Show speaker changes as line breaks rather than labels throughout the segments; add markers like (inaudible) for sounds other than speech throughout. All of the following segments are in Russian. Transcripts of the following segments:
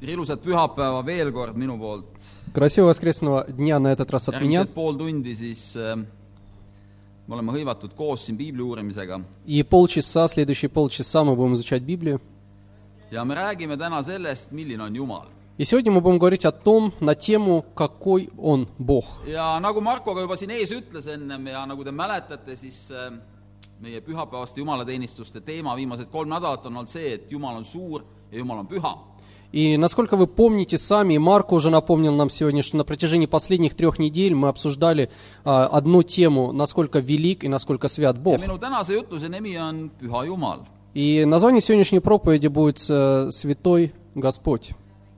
ilusat pühapäeva veel kord minu poolt .
Красивого воскресного дня на этот раз от меня.
järgmised pool tundi siis äh, me oleme hõivatud koos siin piibli uurimisega
И полчаса, следующие полчаса мы будем изучать Библию.
ja me räägime täna sellest , milline on Jumal .
И сегодня мы будем говорить о том, на тему, какой он Бог.
ja nagu Marko ka juba siin ees ütles ennem ja nagu te mäletate , siis äh, meie pühapäevaste jumalateenistuste teema viimased kolm nädalat on olnud see , et Jumal on suur ja Jumal on püha .
И насколько вы помните сами, и Марк уже напомнил нам сегодня, что на протяжении последних трех недель мы обсуждали а, одну тему, насколько велик и насколько свят
ja
Бог.
minu tänase jutluse nimi on Püha Jumal .
И название сегодняшней проповеди будет э, «Святой Господь».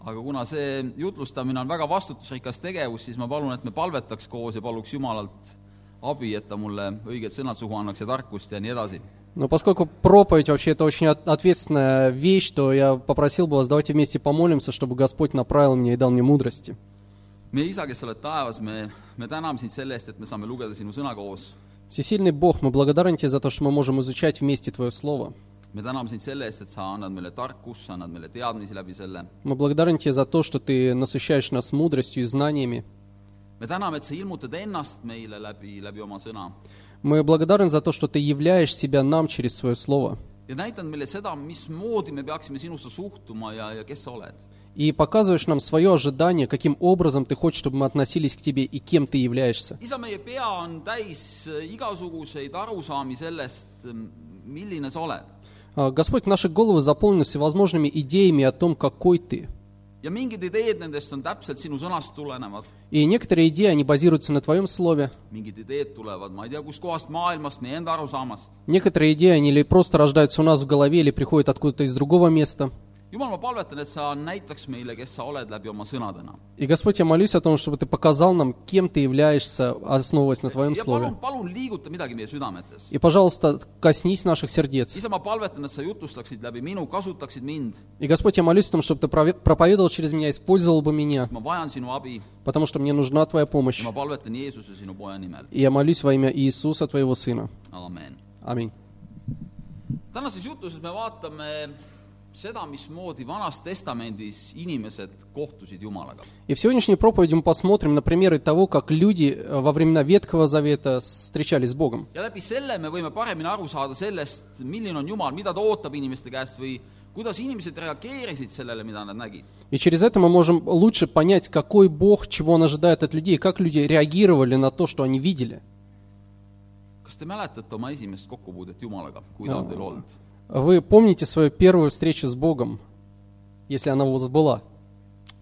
aga kuna see jutlustamine on väga vastutusrikas tegevus , siis ma palun , et me palvetaks koos ja paluks Jumalalt abi , et ta mulle õiged sõnad suhu annaks ja tarkust ja nii edasi .
Но поскольку проповедь вообще это очень от- ответственная вещь, то я попросил бы вас, давайте вместе помолимся, чтобы Господь направил меня и дал мне мудрости.
meie isa , kes sa oled taevas , me , me täname sind selle eest , et me saame lugeda sinu sõna koos .
Всесильный Бог, мы благодарны Тебе за то, что мы можем изучать вместе Твое Слово.
me täname sind selle eest , et sa annad meile tarkust , sa annad meile teadmisi läbi selle .
Мы благодарны Тебе за то, что Ты насыщаешь нас мудростью и знаниями.
me täname , et sa ilmutad ennast meile läbi , läbi oma sõna
Мы благодарны за то, что Ты являешь себя нам через Свое Слово.
ja näitad meile seda , mismoodi me peaksime sinusse suhtuma ja , ja kes sa oled
И показываешь нам свое ожидание, каким образом Ты хочешь, чтобы мы относились к Тебе и кем Ты являешься.
isa , meie pea on täis äh, igasuguseid arusaami sellest , milline sa oled .
А, Господь, наши головы заполнены всевозможными идеями о том, какой Ты.
ja mingid ideed nendest on täpselt sinu sõnast tulenevad ,
И некоторые идеи, они базируются на Твоем Слове.
mingid ideed tulevad , ma ei tea , kustkohast maailmast , meie enda arusaamast .
Некоторые идеи, они или просто рождаются у нас в голове, или приходят откуда-то из другого места.
jumal , ma palvetan , et sa näitaks meile , kes sa oled läbi oma sõnadena .
И, Господь, я молюсь о том, чтобы Ты показал нам, кем Ты являешься, основываясь на Твоем
ja palun
Слове. ,
palun liiguta midagi meie südametes .
И, пожалуйста, коснись наших сердец.
isa , ma palvetan , et sa jutustaksid läbi minu , kasutaksid mind ,
И, Господь, я молюсь о том, чтобы Ты прове- проповедовал через меня, использовал бы меня,
ma vajan sinu abi
потому что мне нужна Твоя помощь.
ja ma palvetan Jeesuse , sinu poja nimel ,
И я молюсь во имя Иисуса, Твоего Сына.
aamen
Аминь.
tänases jutuses me vaatame seda , mismoodi Vanas Testamendis inimesed kohtusid Jumalaga .
И в сегодняшней проповеди мы посмотрим на примеры того, как люди э, во времена Ветхого Завета встречались с Богом.
ja läbi selle me võime paremini aru saada sellest , milline on Jumal , mida ta ootab inimeste käest või kuidas inimesed reageerisid sellele , mida nad nägid .
И через это мы можем лучше понять, какой Бог, чего он ожидает от людей, как люди реагировали на то, что они видели.
kas te mäletate oma esimest kokkupuudet Jumalaga , kui ta on teil olnud ?
Вы помните свою первую встречу с Богом, если она у вас была?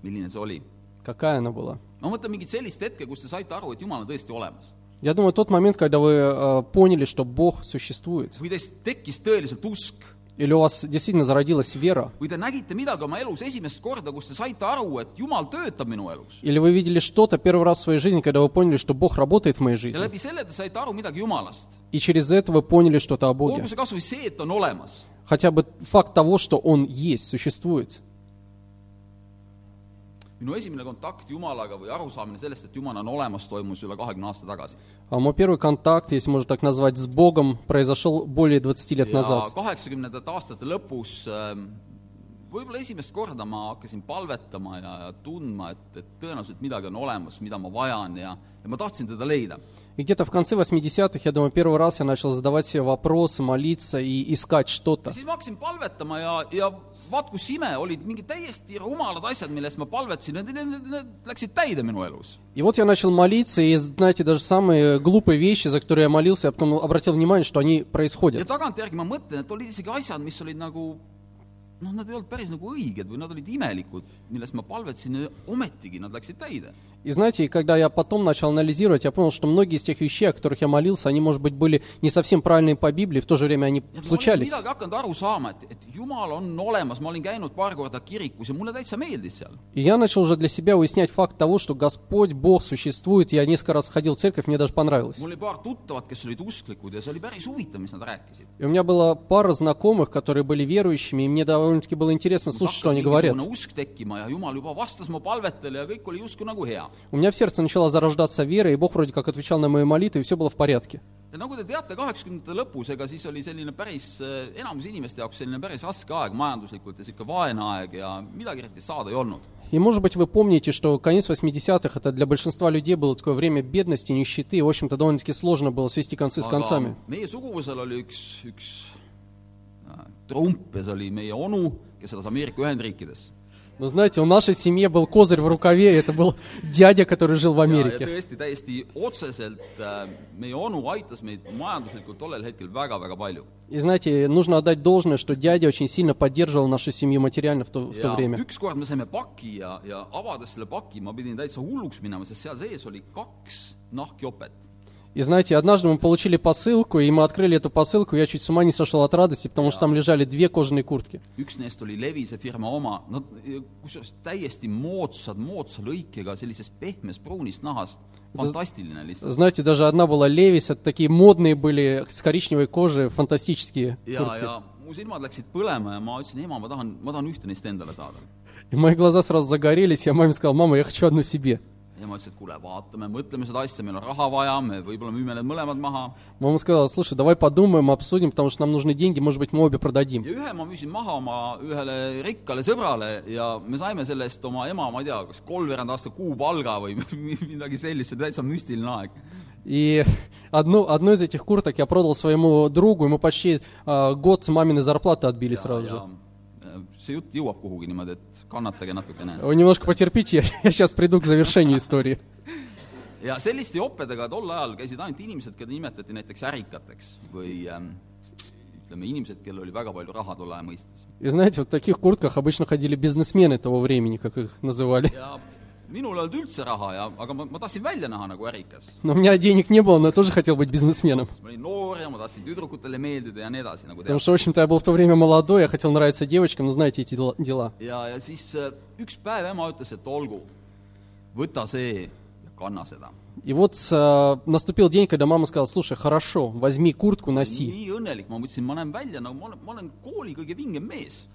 milline see oli ?
Какая она была?
ma mõtlen mingit sellist hetke , kus te saite aru , et Jumal on tõesti olemas .
Я думаю, тот момент, когда вы э, поняли, что Бог существует,
või teist tekkis tõeliselt usk
или у вас действительно зародилась вера,
või te nägite midagi oma elus esimest korda , kus te saite aru , et Jumal töötab minu elus .
или вы видели что-то первый раз в своей жизни, когда вы поняли, что Бог работает в моей
ja
жизни,
läbi selle te saite aru midagi Jumalast .
и через это вы поняли что-то о Боге.
olgu see kas või see , et ta on olemas .
Хотя бы факт того, что Он есть, существует.
minu esimene kontakt Jumalaga või arusaamine sellest , et Jumal on olemas , toimus üle kahekümne aasta tagasi .
А Мой первый контакт, если можно так назвать, с Богом произошел более 20 лет
ja
назад.
kaheksakümnendate aastate lõpus ähm, võib-olla esimest korda ma hakkasin palvetama ja , ja tundma , et , et tõenäoliselt midagi on olemas , mida ma vajan ja , ja ma tahtsin teda leida .
И где-то в конце 80-х, я думаю, первый раз я начал задавать себе вопросы, молиться и искать что-то.
ja siis ma hakkasin palvetama ja , ja vaat kus ime , olid mingid täiesti rumalad asjad , millest ma palvetasin , need , need , need läksid täide minu elus .
И вот я начал молиться, и, знаете, даже самые глупые вещи, за которые я молился, я потом обратил внимание, что они
ja
происходят.
tagantjärgi ma mõtlen , et olid isegi asjad , mis olid nagu noh , nad ei olnud päris nagu õiged või nad olid imelikud , millest ma palvetasin ja ometigi nad läksid täide .
И знаете, когда я потом начал анализировать, я понял, что многие из тех вещей, о которых я молился, они, может быть, были не совсем правильные по Библии, в то же время они
ja ma olin
случались.
midagi hakanud aru saama , et , et Jumal on olemas , ma olin käinud paar korda kirikus ja mulle täitsa meeldis seal .
И я начал уже для себя выяснять факт того, что Господь, Бог существует. Я несколько раз ходил в церковь, мне даже понравилось.
mul oli paar tuttavat , kes olid usklikud ja see oli päris huvitav , mis nad rääkisid .
И у меня была пара знакомых, которые были верующими, и мне довольно-таки было интересно слушать, что они говорят.
usk tekkima ja Jumal juba vastas mu palvetele ja kõik oli justkui nagu hea .
У меня в сердце начала зарождаться вера, и Бог вроде как отвечал на мои молитвы, и все было в порядке.
ja nagu te teate, kaheksakümnendate lõpus, ega siis oli selline päris, eh, enamus inimeste jaoks selline päris raske aeg majanduslikult ja niisugune vaene aeg ja midagi eriti saada ei olnud.
И, может быть, вы помните, что конец 80-х, это для большинства людей было такое время бедности, нищеты, и, в общем-то, довольно-таки сложно было свести концы с концами.
meie suguvõsal oli üks, üks äh, trump ja see oli meie onu, kes elas Ameerika Ühendriikides
Но знаете, у нашей семьи был козырь в рукаве, и это был (laughs) дядя, который жил в
ja , ja
Америке.
tõesti täiesti otseselt äh, meie onu aitas meid majanduslikult tollel hetkel väga-väga palju .
И знаете, нужно отдать должное, что дядя очень сильно поддерживал нашу семью материально в то, в то
ja
время.
ükskord me saime paki ja , ja avades selle paki , ma pidin täitsa hulluks minema , sest seal sees oli kaks nahkjopet .
И знаете, однажды мы получили посылку, и мы открыли эту посылку, и я чуть с ума не сошел от радости, потому что там лежали две кожаные куртки.
üks neist oli Levise firma oma , nad kusjuures täiesti moodsad , moodsa lõikega , sellisest pehmest pruunist nahast , fantastiline lihtsalt .
Знаете, даже одна была Левис, это такие модные были, с коричневой кожи, фантастические
ja ,
куртки.
ja mu silmad läksid põlema ja ma ütlesin , ema , ma tahan , ma tahan ühte neist endale saada .
И мои глаза сразу загорелись, я маме сказал, мама, я хочу одну себе.
ema ütles , et kuule , vaatame , mõtleme seda asja , meil on raha vaja , me võib-olla müüme need mõlemad maha
Мама сказала, слушай, давай подумаем, обсудим, потому что нам нужны деньги, может быть, мы обе продадим.
ja ühe ma müüsin maha oma ühele rikkale sõbrale ja me saime selle eest oma ema , ma ei tea , kas kolmveerand aasta kuupalga või (laughs) midagi sellist , see oli täitsa müstiline aeg .
И одну, одну из этих курток я продал своему другу, и мы почти а, год с маминой зарплаты отбили сразу же.
äh, see jutt jõuab kuhugi niimoodi , et kannatage natukene .
Вы немножко потерпите, (laughs) я, сейчас приду к завершению истории.
ja selliste jopedega tol ajal käisid ainult inimesed , keda nimetati näiteks ärikateks või ähm, ütleme , inimesed , kellel oli väga palju raha tol aja mõistes .
И знаете, вот в таких куртках обычно ходили бизнесмены того времени, как их называли.
ja minul ei olnud üldse raha ja , aga ma , ma tahtsin välja näha nagu ärikas .
Но у меня денег не было, но я тоже хотел быть бизнесменом.
ma olin noor ja ma tahtsin tüdrukutele meeldida ja nii edasi , nagu teate
Потому что, в общем-то, я был в то время молодой, я хотел нравиться девочкам, но знаете эти дела- дела.
ja , ja siis äh, üks päev ema ütles , et olgu , võta see ja kanna seda .
И вот а, наступил день, когда мама сказала, слушай, хорошо, возьми куртку, носи.
nii õnnelik , ma mõtlesin , ma näen välja nagu ma olen , ma olen kooli kõige vingem mees .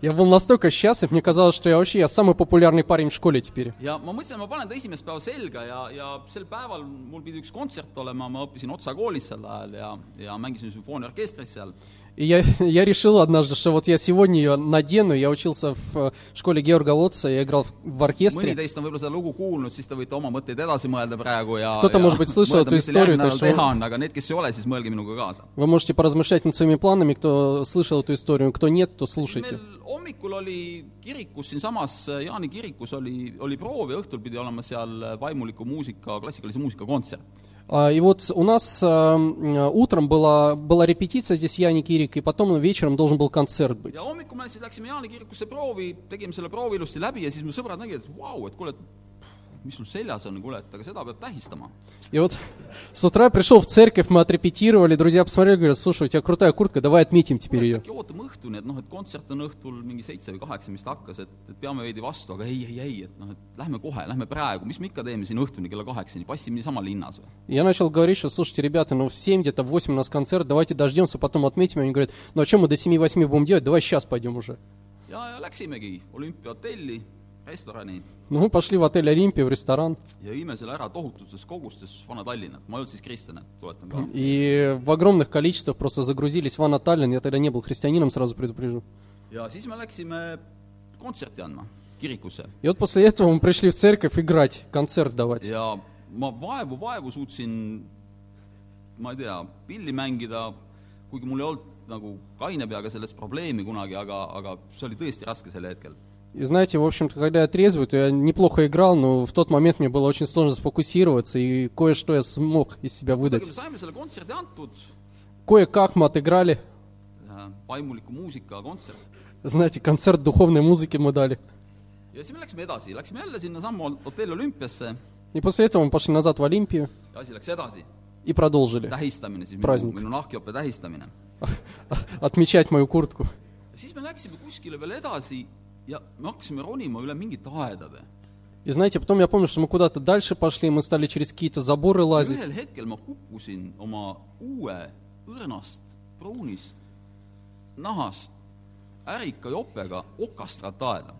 Я был настолько счастлив, мне казалось, что я вообще я самый популярный парень в школе теперь.
ja ma mõtlesin , ma panen ta esimest päeva selga ja , ja sel päeval mul pidi üks kontsert olema , ma õppisin Otsa koolis sel ajal ja , ja mängisin sümfooniaorkestris seal .
И я, (laughs) я решил однажды, что вот я сегодня ее надену. Я учился в э, школе Георга Лотца, я играл в, в
mõni
оркестре.
teist on võib-olla seda lugu kuulnud , siis te võite oma mõtteid edasi mõelda praegu ja
Кто-то,
ja
может быть, слышал
mõelda ,
эту
mis teil järgmine
историю, то
nädal
есть
teha
он-
on , aga need , kes ei ole , siis mõelge minuga kaasa .
Вы можете поразмышлять над своими планами, кто слышал эту историю, кто нет, то
siis
слушайте.
meil hommikul oli kirikus siinsamas , Jaani kirikus oli , oli proov ja õhtul pidi olema seal vaimuliku muusika , klassikalise muusika kontsert .
А, И вот у нас э, м, э, утром была, была репетиция здесь в Яне Кирик, и потом вечером должен был концерт быть.
ja hommikul me siis läksime Jaani kirikusse proovi , tegime selle proovi ilusti läbi ja siis mu sõbrad nägid , et vau , et kuule , et mis sul seljas on , kuule , et aga seda peab tähistama .
И вот (laughs) с утра пришел в церковь, мы отрепетировали, друзья посмотрели, говорят, слушай, у тебя крутая куртка, давай отметим теперь ее.
äkki ootame õhtuni , et noh , et kontsert on õhtul mingi seitse või kaheksa , mis ta hakkas , et , et peame veidi vastu , aga ei , ei , ei , et noh , et lähme kohe , lähme praegu , mis me ikka teeme siin õhtuni kella kaheksani , passime niisama linnas või ?
Я начал говорить, что, слушайте, ребята, ну в 7 где-то, в 8 у нас концерт, давайте дождемся, потом отметим. Они говорят, ну а что мы до 7-8 будем делать, давай сейчас пойдем уже.
ja , ja läksimegi olümpiahotelli , restorani
Ну, мы пошли в отель Олимпия, в ресторан,
ja viime selle ära tohututes kogustes Vana-Tallinnat , ma ei olnud siis kristlane , tuletan
Mm.
ka .
и в огромных количествах просто загрузились в Анна Таллин. Я тогда не был христианином, сразу предупрежу.
ja siis me läksime kontserti andma kirikusse
И вот после этого мы пришли в церковь играть, концерт давать.
ja ma vaevu-vaevu suutsin , ma ei tea , pilli mängida , kuigi mul ei olnud nagu kaine peaga sellest probleemi kunagi , aga , aga see oli tõesti raske sel hetkel .
И знаете, в общем-то, когда я трезвый, то я неплохо играл, но в тот момент мне было очень сложно сфокусироваться, и кое-что я смог из себя
kuidagi me
выдать.
saime selle kontserdi antud ,
Кое-как мы отыграли.
vaimuliku muusika kontsert ,
Знаете, концерт духовной музыки мы дали.
ja siis me läksime edasi , läksime jälle sinnasamma hotell Olümpiasse
И после этого мы пошли назад в Олимпию
ja asi läks edasi ,
и продолжили
tähistamine siis , minu,
Praesnik.
minu nahkjope tähistamine
(laughs) отмечать мою куртку.
ja siis me läksime kuskile veel edasi ja me hakkasime ronima üle mingite aedade .
И знаете, потом я помню, что мы куда-то дальше пошли, мы стали через какие-то заборы лазить.
ühel hetkel ma kukkusin oma uue õrnast pruunist nahast ärika jopega okastrataeda .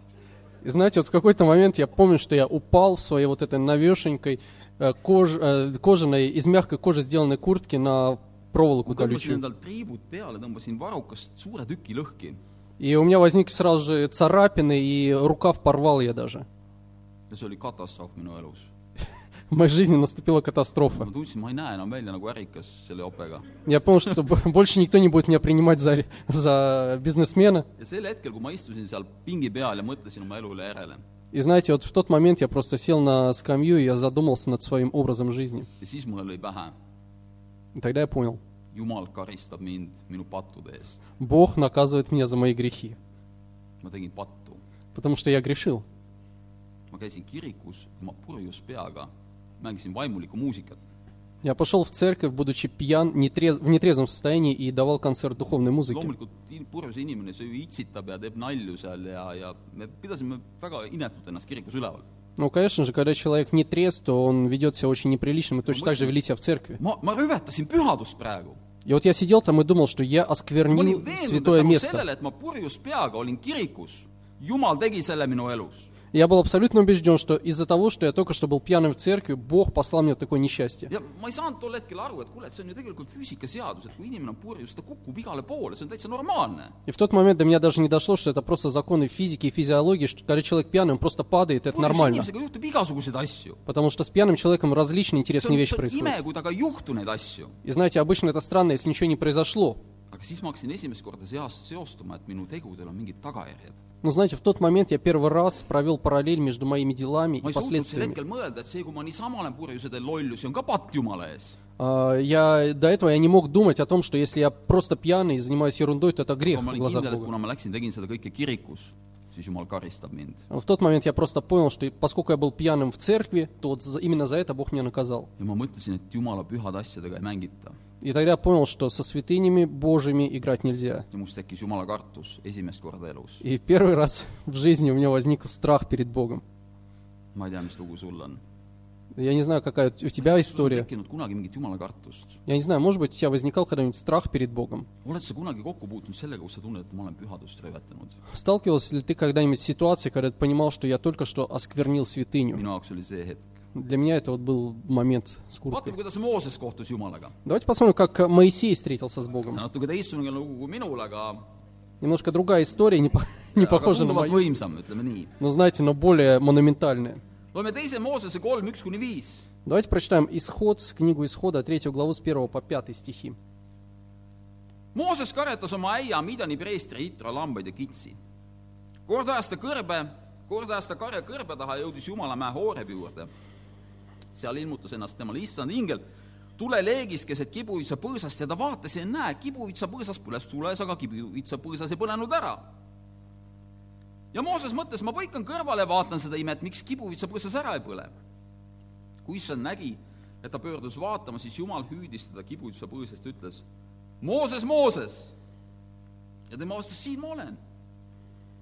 И знаете, вот в какой-то момент я помню, что я упал в своей вот этой навешенькой э, кож- э, кожаной, из мягкой кожи сделанной куртки на проволоку
ma tõmbasin
колючую.
endalt triibud peale , tõmbasin varrukast suure tüki lõhki
И у меня возникли сразу же царапины, и рукав порвал я даже.
ja see oli katastroof minu elus .
В моей жизни наступила катастрофа.
ma tundsin , ma ei näe enam välja nagu ärikas selle jopega .
Я понял, что б- (laughs) больше никто не будет меня принимать за, за бизнесмена.
ja sel hetkel , kui ma istusin seal pingi peal ja mõtlesin oma elu üle järele
И знаете, вот в тот момент я просто сел на скамью, и я задумался над своим образом жизни.
ja siis mulle lõi pähe ,
И тогда я понял,
jumal karistab mind minu pattude eest .
Бог наказывает меня за мои грехи,
ma tegin pattu ,
потому что я грешил.
ma käisin kirikus , ma purjus peaga , mängisin vaimulikku muusikat .
Я пошел в церковь, будучи пьян, нетрез- в нетрезвом состоянии, и давал концерт духовной музыки.
loomulikult in- purjus inimene , see ju itsitab ja teeb nalju seal ja , ja me pidasime väga inetult ennast kirikus üleval .
Ну, конечно же, когда человек не трезв, то он ведет себя очень неприлично, и точно так же вели себя в церкви.
ma , ma rüvetasin pühadust praegu .
И вот я сидел там и думал, что я
ma olin
осквернил
veendunud , et
святое
tänu
место.
sellele , et ma purjus peaga olin kirikus , Jumal tegi selle minu elus .
Я был абсолютно убежден, что из-за того, что я только что был пьяным в церкви, Бог послал мне такое несчастье.
ja ma ei saanud tol hetkel aru , et kuule , et see on ju tegelikult füüsikaseadus , et kui inimene on purjus , ta kukub igale poole , see on täitsa normaalne .
И в тот момент до меня даже не дошло, что это просто законы физики и физиологии, что когда человек пьяный, он просто падает, это
purjus
нормально.
inimesega juhtub igasuguseid asju .
Потому что с pьяным человеком различные
see on,
интересные вещи
see on ime
происходят. ,
kui temaga ei juhtu neid asju .
И знаете, обычно это странно, если ничего не произошло.
aga siis ma hakkasin esimest korda seast seostuma , et minu tegudel on mingid tagajärjed .
Но знаете, в тот момент я первый раз провел параллель между моими делами
ma ei suutnud
и
sel
последствиями.
hetkel mõelda , et see , kui ma niisama olen purjus ja teen lollusi , on ka patt Jumala ees .
А, Я до этого я не мог думать о том, что если я просто пьяный и занимаюсь ерундой, то это грех
aga ma
в
olin
глазах
kindel , et
Бога.
kuna ma läksin , tegin seda kõike kirikus , siis Jumal karistab mind .
В тот момент я просто понял, что поскольку я был пьяным в церкви, то вот за- именно за это Бог меня наказал.
ja ma mõtlesin , et Jumala pühade asjadega ei mängita .
И тогда я понял, что со святынями Божьими играть нельзя.
ja must tekkis Jumala kartus esimest korda elus .
И первый раз (laughs) в жизни у меня возник страх перед Богом.
ma ei tea , mis lugu sul on .
Я не знаю, какая у тебя
sul ei
история.
tekkinud kunagi mingit Jumala kartust ?
Я не знаю, может быть, у тебя возникал когда-нибудь страх перед Богом?
oled sa kunagi kokku puutunud sellega , kus sa tunned , et ma olen pühadust röövetanud ?
Сталкивался ли ты когда-нибудь с ситуацией, когда ты понимал, что я только что осквернил святыню?
minu jaoks oli see hetk .
Для меня это вот был момент с
vaatame ,
курткой.
kuidas Mooses kohtus Jumalaga .
Давайте посмотрим, как э, Моисей встретился с Богом.
natuke teistsugune lugu kui minul , aga
Немножко другая история, не, по- (laughs) не
aga
похожа на
tunduvalt
мою.
võimsam , ütleme nii .
Но знаете, но более монументальная.
loeme teise Moosese kolm , üks kuni viis .
Давайте прочитаем Исход, с книгу Исхода, третью главу с 1 по 5 стихи.
Mooses karjatas oma äia Midani preestri Itra lambaid ja kitsi . kord ajas ta kõrbe , kord ajas ta karja kõrbe taha ja jõudis Jumalamäe Hoorebi juurde . seal ilmutas ennast temale issand ingel , tule leegis keset kibuvitsa põõsast ja ta vaatas ja näe , kibuvitsa põõsas põles tules , aga kibuvitsa põõsas ei põlenud ära . ja Mooses mõtles , ma põikan kõrvale ja vaatan seda imet , miks kibuvitsa põõsas ära ei põle . kui issand nägi , et ta pöördus vaatama , siis Jumal hüüdis teda kibuvitsa põõsast ja ütles Mooses , Mooses . ja tema vastas , siin ma olen .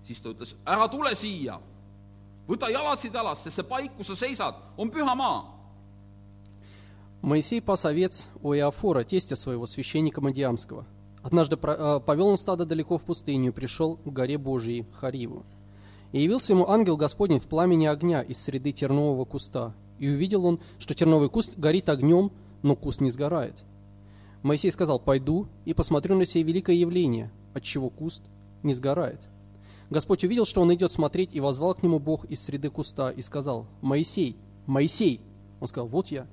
siis ta ütles , ära tule siia , võta jalatsid jalast , sest see paik , kus sa seisad , on püha maa .
Моисей пас овец у Иофора, тестя своего, священника Мадиамского. Однажды про- э, повел он стадо далеко в пустыню и пришел к горе Божией, Хариву. И явился ему ангел Господень в пламени огня из среды тернового куста. И увидел он, что терновый куст горит огнем, но куст не сгорает. Моисей сказал, пойду и посмотрю на сие великое явление, отчего куст не сгорает. Господь увидел, что он идет смотреть, и возвал к нему Бог из среды куста, и сказал, «Моисей! Моисей!» Он сказал, «Вот я».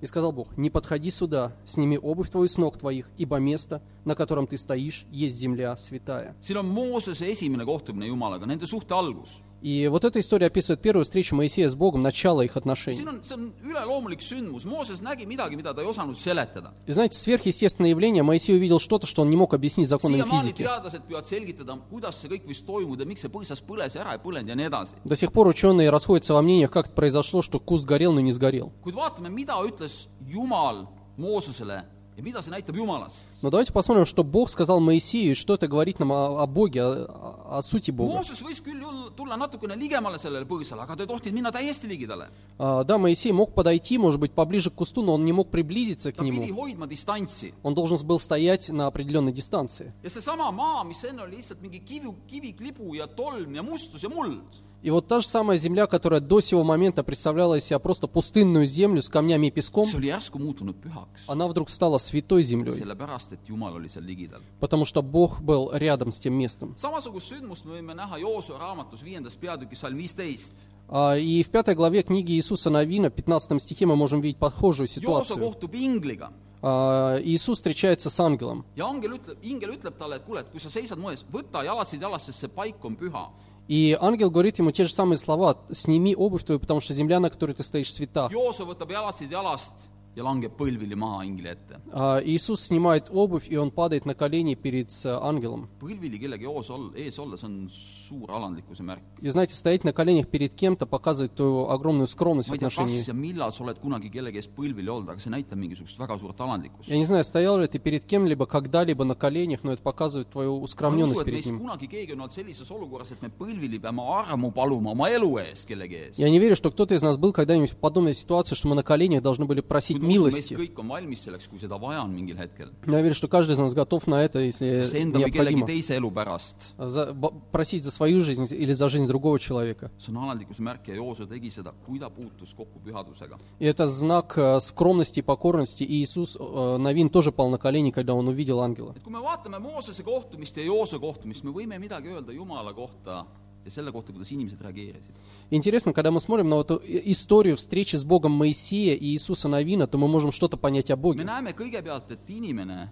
И сказал Бог, «Не подходи сюда, сними обувь твою с ног твоих, ибо место, на котором ты стоишь, есть земля святая».
siin on Moosese esimene kohtumine Jumalaga , nende suhte algus .
И вот эта история описывает первую встречу Моисея с Богом, начало их отношений.
siin on , see on üleloomulik sündmus , Mooses nägi midagi , mida ta ei osanud seletada .
И знаете, сверхъестественное явление, Моисей увидел что-то, что он не мог объяснить законами
siiamaani
физики.
teadlased püüavad selgitada , kuidas see kõik võis toimuda , miks see põõsas põles ja ära ei põlenud ja nii edasi .
До сих пор ученые расходятся во мнениях, как это произошло, что куст горел, но не сгорел.
kuid vaatame , mida ütles Jumal Moosesele ja mida see näitab Jumalast .
Но давайте посмотрим, что Бог сказал Моисею, и что это говорит нам о, о Боге, о, о- о сути Бога.
Mooses võis küll ju tulla natukene ligemale sellele põõsale , aga ta ei tohtinud minna täiesti ligidale .
А, да, Моисей мог подойти, может быть, поближе к кусту, но он не мог приблизиться к
ta pidi
нему.
hoidma distantsi .
Он должен был стоять на определенной дистанции.
ja seesama maa , mis enne oli lihtsalt mingi kivi , kiviklibu ja tolm ja mustus ja muld ,
И вот та же самая земля, которая до сего момента представляла из себя просто пустынную землю с камнями и песком,
see oli järsku muutunud pühaks ,
она вдруг стала святой землей,
sellepärast et Jumal oli seal ligidal .
потому что Бог был рядом с тем местом.
samasugust sündmust me võime näha Joosua raamatus viiendas peatükis salm viisteist .
А, И в пятой главе книги Иисуса Новина, в 15 стихе, мы можем видеть похожую
Joosua
ситуацию.
kohtub ingliga
А, Иисус встречается с ангелом.
ja angel ütleb , ingel ütleb talle , et kuule , et kui sa seisad moes , võta jalatsid jalast , sest see paik on püha .
И ангел говорит ему те же самые слова. «Сними обувь твою, потому что земля, на которой ты стоишь, свята».
Joosua võtab jalatsid jalast ja langeb põlvili maha ingli ette .
А, Иисус снимает обувь, и он падает на колени перед э, ангелом.
põlvili kellegi eos ol- , ees olla , see on suur alandlikkuse märk .
И знаете, стоять на коленях перед кем-то показывает твою огромную скромность в
ma ei tea ,
отношении...
kas ja millal sa oled kunagi kellegi ees põlvili olnud , aga see näitab mingisugust väga suurt alandlikkust
Я . не знаю, стоял ли ты перед кем-либо когда-либо на коленях, но это показывает твою
ma ei usu ,
ускромненность
et
перед
meist
ним.
kunagi keegi on olnud sellises olukorras , et me põlvili peame armu paluma oma elu eest kellegi ees .
Я не верю, что кто-то из нас был когда-нибудь в подобной ситуации, что мы на коленях должны были просить
kuid ma usun , meist
милости.
kõik on valmis selleks , kui seda vaja on mingil hetkel .
Но Я верю, что каждый из нас готов на это, если
kas enda või kellegi
необходимо.
teise elu pärast .
За- б- просить за свою жизнь или за жизнь другого человека.
see on alandlikkuse märk ja Jooso tegi seda , kui ta puutus kokku pühadusega .
И это знак э, скромности и покорности. И Иисус э, Новин тоже пал на колени, когда он увидел ангела.
et kui me vaatame Moosese kohtumist ja Jooso kohtumist , me võime midagi öelda Jumala kohta ja selle kohta , kuidas inimesed reageerisid .
Интересно, когда мы смотрим на эту и- историю встречи с Богом Моисея и Иисуса Новина, то мы можем что-то понять о
me
Боге.
näeme kõigepealt , et inimene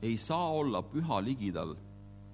ei saa olla püha ligidal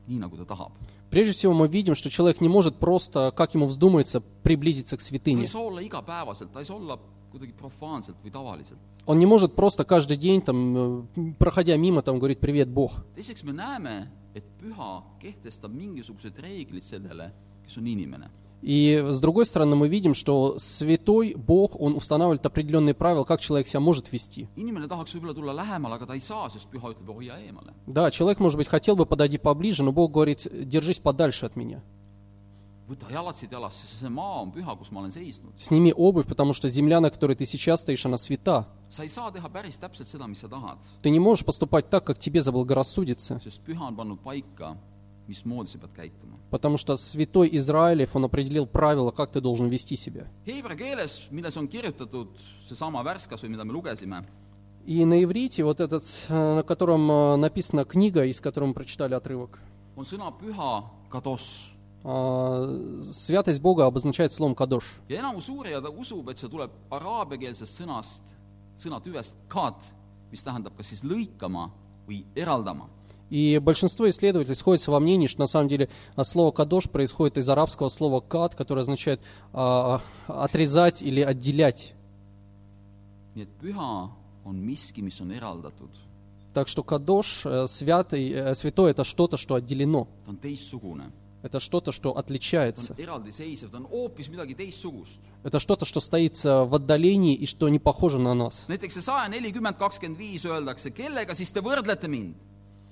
nii , nagu ta tahab .
Прежде всего мы видим, что человек не может просто, как ему вздумается, приблизиться к
ta ei
святыне.
saa olla igapäevaselt , ta ei saa olla kuidagi profaanselt või tavaliselt .
Он не может просто каждый день, там, э, проходя мимо, там, говорить «Привет, Бог».
teiseks me näeme , et püha kehtestab mingisugused reeglid sellele , kes on inimene .
И с другой стороны мы видим, что святой Бог, он устанавливает определенные правила, как человек себя может вести.
inimene tahaks võib-olla tulla lähemale , aga ta ei saa , sest püha ütleb , hoia eemale .
Да, человек, может быть, хотел бы подойти поближе, но Бог говорит, держись подальше от меня.
võta jalatsid jalast , sest see maa on püha , kus ma olen seisnud .
Сними обувь, потому что земля, на которой ты сейчас стоишь, она свята.
sa ei saa teha päris täpselt seda , mis sa tahad ,
Ты не можешь поступать так, как тебе заблагорассудится,
sest püha on pannud paika , mismoodi sa pead käituma .
потому что святой Израилев, он определил правила, как ты должен вести себя.
Heebra keeles , milles on kirjutatud seesama värskas või mida me lugesime ,
И на иврите, вот этот, э, на котором э, написана книга, из которой мы прочитали отрывок,
on sõna püha kados .
э, святость Бога обозначает словом «кадош».
ja enamus uurijad usub , et see tuleb araabiakeelsest sõnast , sõnatüvest kad , mis tähendab kas siis lõikama või eraldama .
И большинство исследователей сходятся во мнении, что на самом деле а, слово «кадош» происходит из арабского слова «кад», которое означает а, «отрезать» или «отделять».
nii et püha on miski , mis on eraldatud .
Так что «кадош», э, святый, э, святой — это что-то, что отделено,
ta on teistsugune ,
это что-то, что
ta
отличается,
on eraldiseisev , ta on hoopis midagi teistsugust .
это что-то, что стоит э, в отдалении и что не похоже на нас.
näiteks see saja nelikümmend kakskümmend viis öeldakse , kellega siis te võrdlete mind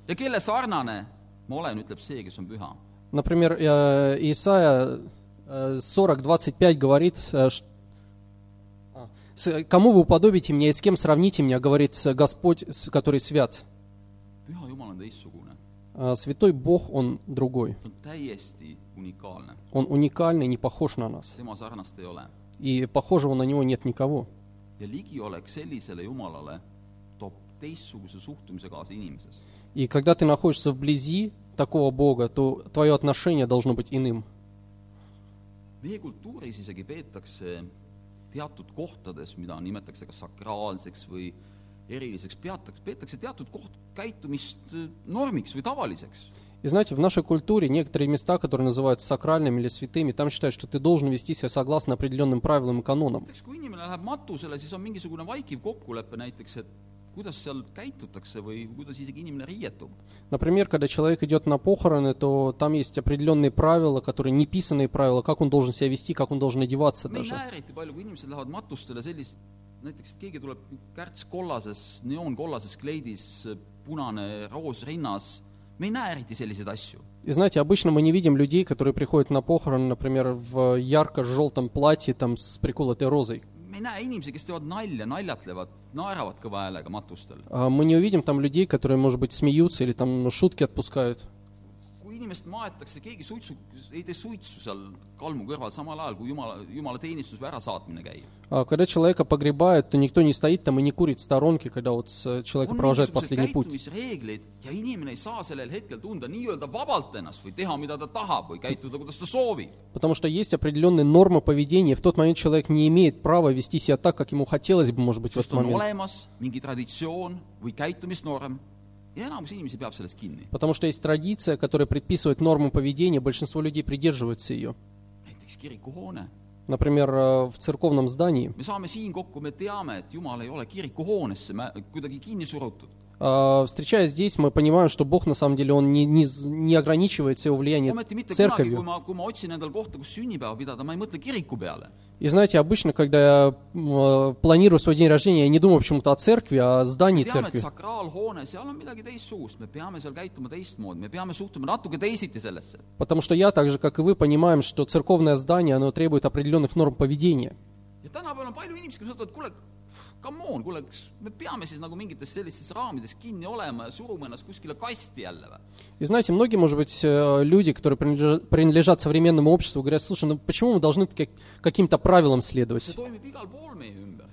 ja kelle sarnane ma olen , ütleb see , kes on püha
Например, э, Исайя э, 40.25 говорит, э, ш- а, «С- «Кому вы уподобите меня и с кем сравните меня, говорит э, Господь, с- который свят».
püha Jumal on teistsugune ,
А Святой Бог, Он другой.
ta on täiesti unikaalne ,
Он уникальный, не похож на нас.
tema sarnast ei ole .
И похожего на Него нет никого.
ja ligiolek sellisele Jumalale toob teistsuguse suhtumise kaasa inimeses .
И когда ты находишься вблизи такого Бога, то твое отношение должно быть иным.
meie kultuuris isegi peetakse teatud kohtades , mida nimetatakse kas sakraalseks või eriliseks , peatakse , peetakse teatud koht käitumist eh, normiks või tavaliseks .
И знаете, в нашей культуре некоторые места, которые называются сакральными или святыми, там считают, что ты должен вести себя согласно определенным правилам и канонам.
näiteks kui inimene läheb matusele , siis on mingisugune vaikiv kokkulepe näiteks , et kuidas seal käitutakse või kuidas isegi inimene riietub .
Например, когда человек идет на похороны, то там есть определенные правила, которые неписанные правила, как он должен себя вести, как он должен одеваться
me ei
даже.
näe eriti palju , kui inimesed lähevad matustele sellist , näiteks , et keegi tuleb kärts kollases , neoonkollases kleidis , punane roos rinnas , me ei näe eriti selliseid asju .
И знаете, обычно мы не видим людей, которые приходят на похороны, например, в ярко-желтом платье там с приколотой розой.
me ei näe inimesi , kes teevad nalja , naljatlevad , naeravad kõva häälega matustel .
А Мы не увидим там людей, которые, может быть, смеются или там шутки отпускают.
kui inimest maetakse , keegi suitsu , ei tee suitsu seal kalmu kõrval samal ajal , kui jumala , jumala teenistus või ärasaatmine käib .
А Когда человека погребают, то никто не стоит там и не курит в сторонке, когда вот с- э, человека
on
провожает
mingisugused
последний путь.
käitumisreeglid ja inimene ei saa sellel hetkel tunda nii-öelda vabalt ennast või teha , mida ta tahab või käituda , kuidas ta soovib .
Потому что есть определенные нормы поведения. В тот момент человек не имеет права вести себя так, как ему хотелось бы, может быть, в
sest
этот
on
момент.
olemas mingi traditsioon või käitumisnorm ja enamus inimesi peab sellest kinni .
Потому что есть традиция, которая предписывает норму поведения, большинство людей придерживаются ее.
näiteks kirikuhoone .
Например, э, в церковном здании.
me saame siin kokku , me teame , et Jumal ei ole kirikuhoonesse mä- kuidagi kinni surutud .
А, Встречаясь здесь, мы понимаем, что Бог, на самом деле, Он не, не з- не ограничивает его влияние
ometi mitte kunagi , kui
церковью.
ma , kui ma otsin endale kohta , kus sünnipäeva pidada , ma ei mõtle kiriku peale .
И знаете, обычно, когда я м, э, планирую свой день рождения, я не думаю почему-то о церкви, а о здании
teame , et
церкви.
sakraalhoone , seal on midagi teistsugust , me peame seal käituma teistmoodi , me peame suhtuma natuke teisiti sellesse .
Потому что я, так же, как и вы, понимаем, что церковное здание, оно требует определенных норм поведения.
ja tänapäeval on palju inimesi , kes ütlevad , kuule , come on , kuule , kas me peame siis nagu mingites sellistes raamides kinni olema ja suruma ennast kuskile kasti jälle või ?
И знаете, многие, может быть, э, люди, которые принадлежат- принадлежат современному обществу, говорят, слушай, ну почему мы должны как- каким-то правилам
see
следовать?
toimib igal pool meie ümber .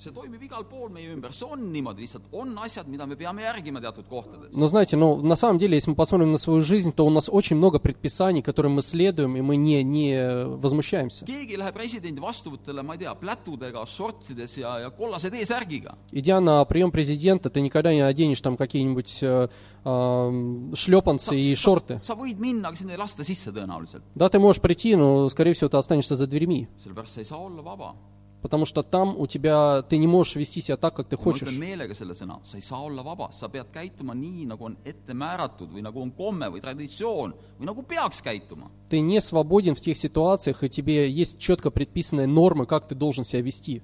see toimib igal pool meie ümber , see on niimoodi lihtsalt , on asjad , mida me peame järgima teatud kohtades .
Но знаете, ну, на самом деле, если мы посмотрим на свою жизнь, то у нас очень много предписаний, которым мы следуем, и мы не, не возмущаемся.
keegi ei lähe presidendi vastuvõtule , ma ei tea , plätudega , sortides ja , ja kollase T-särgiga .
Идя на прием президента, ты никогда не оденешь там какие-нибудь э, эм, шлепанцы и шорты.
sa võid minna , aga sind ei lasta sisse tõenäoliselt ,
Да, ты можешь прийти, но, скорее всего, ты останешься за дверьми.
sellepärast sa ei saa olla vaba .
Потому что там у тебя ты не можешь вести себя так, как ты
ma ütlen
хочешь.
meelega selle sõna , sa ei saa olla vaba , sa pead käituma nii , nagu on ette määratud või nagu on komme või traditsioon või nagu peaks käituma .
Ты не свободен в тех ситуациях, и тебе есть четко предписанные нормы, как ты должен себя вести.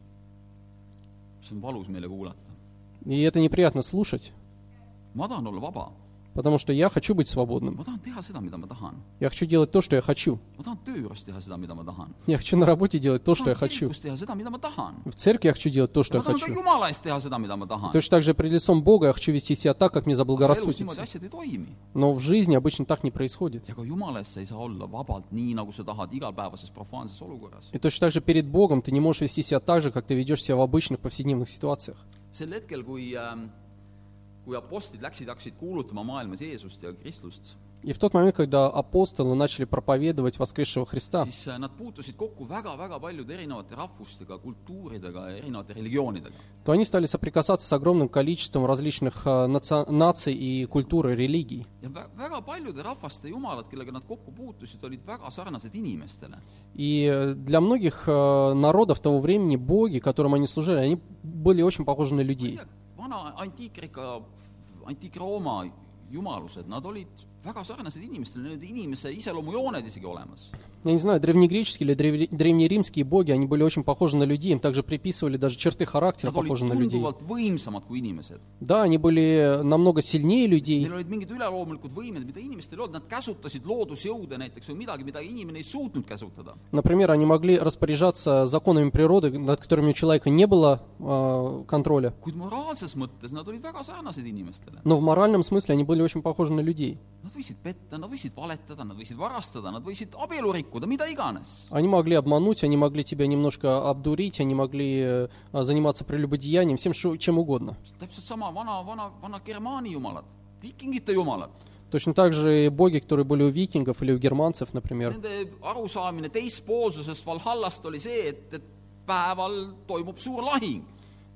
see on valus meile kuulata .
И это неприятно слушать,
ma tahan olla vaba ,
потому что я хочу быть свободным.
ma tahan teha seda , mida ma tahan ,
Я хочу делать то, что я хочу.
ma tahan töö juures teha seda , mida ma tahan
Я хочу на работе делать то,
ma
что я
tahan
хочу.
kirikus teha seda , mida ma tahan .
В церкви я хочу делать то, что
ma
я
tahan ka
хочу.
Jumala eest teha seda , mida ma tahan .
Точно так же перед лицом Бога я хочу вести себя так, как мне
elus niimoodi
заблагорассудится.
asjad ei toimi .
Но в жизни обычно так не происходит.
ja ka Jumala eest sa ei saa olla vabalt nii , nagu sa tahad igapäevases profaanses olukorras .
И точно так же перед Богом ты не можешь вести себя так же, как ты ведешь себя в обычных повседневных ситуациях.
sel hetkel , kui ähm, kui apostlid läksid , hakkasid kuulutama maailmas Jeesust ja Kristust ,
И в тот момент, когда апостолы начали проповедовать воскресшего Христа,
siis äh, nad puutusid kokku väga-väga paljude erinevate rahvustega , kultuuridega ja erinevate religioonidega .
то они стали соприкасаться с огромным количеством различных э, наци- наций и культур и религий.
ja vä- väga paljude rahvaste jumalad , kellega nad kokku puutusid , olid väga sarnased inimestele .
И э, для многих э, народов того времени боги, которым они служили, они были очень похожи на людей.
vana antiikrika , antiik-Rooma jumalused , nad olid väga sarnased inimestele , need inimese iseloomujooned isegi olemas .
Я не знаю, древнегреческие или древне- древнеримские боги, они были очень похожи на людей, им также приписывали даже черты характера,
Nad olid
похожие на людей.
tunduvalt võimsamad kui inimesed .
Да, они были намного сильнее людей,
Neil olid mingid üleloomulikud võimed , mida inimestel ei olnud , nad käsutasid loodusjõude näiteks või midagi , mida inimene ei suutnud käsutada .
Например, они могли распоряжаться законами природы, над которыми у человека не было э, контроля.
kuid moraalses mõttes nad olid väga sarnased inimestele .
Но в моральном смысле они были очень похожи на людей.
Nad võisid petta , nad võisid valetada , nad võisid varastada , nad võisid abielu rikkuda , mida iganes .
Они могли обмануть, они могли тебя немножко обдурить, они могли э, заниматься прелюбодеянием, всем шу- чем угодно.
täpselt sama vana , vana , vana Germaani jumalad , vikingite jumalad .
Точно так же и боги, которые были у викингов или у германцев, например.
Nende arusaamine teispoolsusest Valhallast oli see , et , et päeval toimub suur lahing .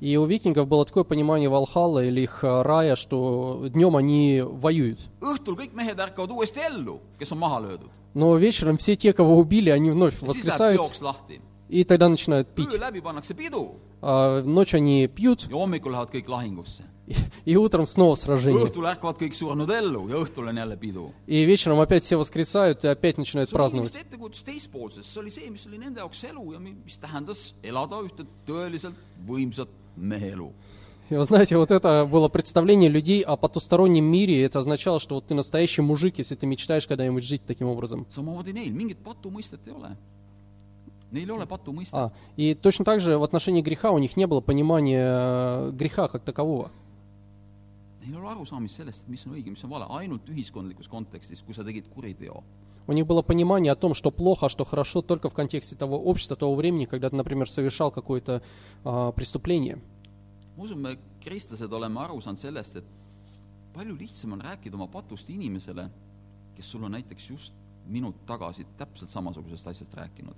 И у викингов было такое понимание Валхалла или их э, рая, что днем они воюют.
õhtul kõik mehed ärkavad uuesti ellu , kes on maha löödud .
Но вечером все те, кого убили, они вновь
siis läheb
воскресают,
jooks lahti .
и тогда начинают пить.
öö läbi pannakse pidu
А, ночью они пьют,
ja hommikul lähevad kõik lahingusse .
И- И утром снова сражение.
õhtul ärkavad kõik surnud ellu ja õhtul on jälle pidu .
И вечером опять все воскресают и опять начинают
see oli inimeste
праздновать.
ettekujutus teispoolsusest , see oli see , mis oli nende jaoks elu ja mi- mis tähendas elada ühte tõeliselt võimsat mehe elu .
И вы знаете, вот это было представление людей о потустороннем мире, и это означало, что вот ты настоящий мужик, если ты мечтаешь когда-нибудь жить таким образом.
samamoodi neil , mingit patu mõistet ei ole . Neil ei ole patu mõistet .
А, и точно так же в отношении греха у них не было понимания э, греха как такового.
neil ei ole arusaamist sellest , et mis on õige , mis on vale , ainult ühiskondlikus kontekstis , kui sa tegid kuriteo .
У них было понимание о том, что плохо, а что хорошо только в контексте того общества, того времени, когда ты, например, совершал какое-то а, преступление.
ma usun , me kristlased oleme aru saanud sellest , et palju lihtsam on rääkida oma patust inimesele , kes sul on näiteks just minut tagasi täpselt samasugusest asjast rääkinud .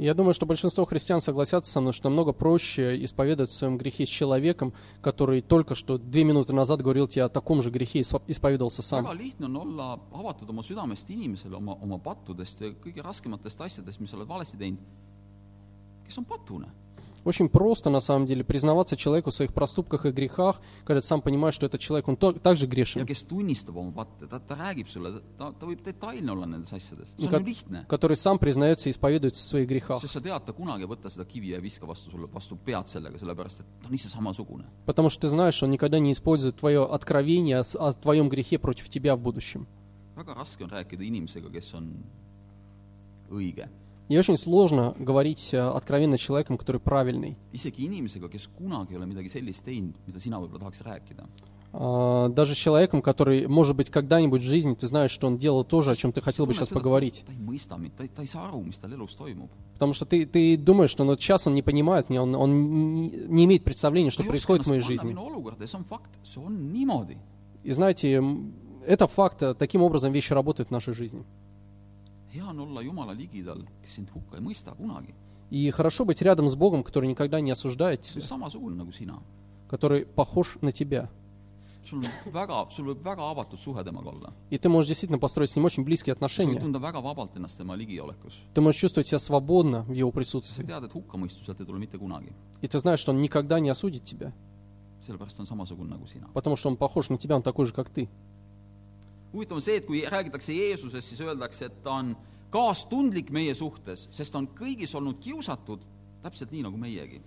Я думаю, что большинство христиан согласятся со мной, что намного проще исповедовать в своем грехе с человеком, который только что две минуты назад говорил тебе о таком же грехе и испо- исповедовался сам.
väga lihtne on olla avatud oma südamest inimesele oma , oma pattudest ja kõige raskematest asjadest , mis sa oled valesti teinud , kes on patune .
Очень просто, на самом деле, признаваться человеку в своих проступках и грехах, когда ты сам понимаешь, что этот человек, он то- также
ja
грешен,
kes tunnistab oma patte , ta , ta räägib sulle , ta , ta võib detailne olla nendes asjades , see
Aga-
on ju lihtne .
который сам признается и исповедуется в своих грехах.
sest sa tead , ta kunagi ei võta seda kivi ja ei viska vastu sulle , vastu pead sellega , sellepärast et ta on ise samasugune .
Потому что ты знаешь, что он никогда не использует твое откровение с- о твоем грехе против тебя в будущем.
väga raske on rääkida inimesega , kes on õige .
И очень сложно говорить э, откровенно с человеком, который правильный.
isegi inimesega , kes kunagi ei ole midagi sellist teinud , mida sina võib-olla tahaks rääkida .
А, Даже с человеком, который, может быть, когда-нибудь в жизни ты знаешь, что он делал то же, о чем ты хотел бы сейчас поговорить.
ta ei mõista mind , ta , ta ei saa aru , mis tal elus toimub .
Потому что ты, ты думаешь, что ну, вот сейчас он не понимает меня, он, он не- не имеет представления, что
ta ei
происходит в моей жизни.
minu olukorda ja see on fakt , see on niimoodi .
И знаете, м, это факт, э, таким образом вещи работают в нашей жизни.
hea on olla Jumala ligidal , kes sind hukka ei mõista kunagi .
И хорошо быть рядом с Богом, который никогда не осуждает
see
тебя,
on samasugune nagu sina .
который pохож на тебя.
sul on väga , sul võib väga avatud suhe temaga olla .
И ты можешь действительно построить с ним очень близкие
sa võid
отношения.
tunda väga vabalt ennast tema ligiolekus .
Ты можешь чувствовать себя свободно в его
sa
присутствии.
tead , et hukkamõistuselt ei tule mitte kunagi .
И ты знаешь, что он никогда не осудит тебя,
sellepärast ta on samasugune nagu sina .
потому что он похож на тебя, он такой же, как ты.
huvitav on see , et kui räägitakse Jeesusest , siis öeldakse , et ta on kaastundlik meie suhtes , sest ta on kõigis olnud kiusatud , täpselt nii nagu meiegi .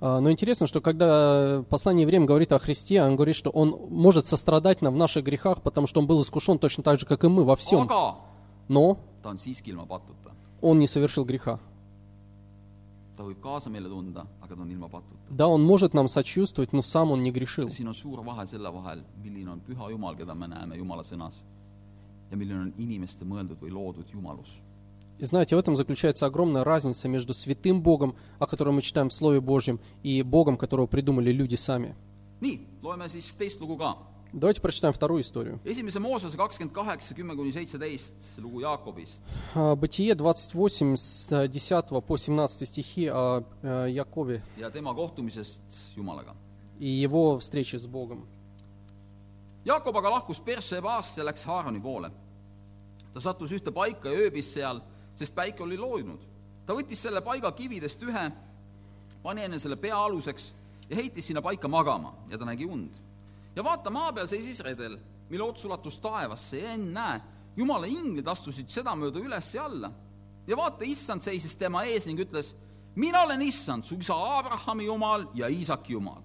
А, Но интересно, что когда послание Евреям говорит о Христе, он говорит, что он может сострадать нам в наших грехах, потому что он был искушен точно так же, как и мы во всем.
aga
Но
ta on siiski ilma patuta .
он не совершил греха.
ta võib kaasa meile tunda , aga ta on ilma patuta .
Да, он может нам сочувствовать, но сам он не грешил.
siin on suur vahe selle vahel , milline on püha Jumal , keda me näeme Jumala sõnas ja milline on inimeste mõeldud või loodud jumalus .
И знаете, в этом заключается огромная разница между святым Богом, о котором мы читаем в Слове Божьем, и Богом, которого придумали люди сами.
nii , loeme siis teist lugu ka
Давайте прочитаем вторую историю.
esimese Moosese kakskümmend kaheksa , kümme kuni seitseteist lugu Jaakobist .
А, Бытие 28, с э, 10 по 17 стихи о э, Якове
ja tema kohtumisest Jumalaga .
и его встрече с Богом.
Jaakob aga lahkus Persebast ja läks Haarani poole . ta sattus ühte paika ja ööbis seal , sest päike oli loojunud . ta võttis selle paiga kividest ühe , pani enne selle pea aluseks ja heitis sinna paika magama ja ta nägi und . ja vaata , maa peal seisis redel , mille ots ulatus taevasse ja ennäe , jumala inglid astusid sedamööda üles ja alla . ja vaata , issand seisis tema ees ning ütles , mina olen issand , su isa Abrahami jumal ja Iisaki jumal .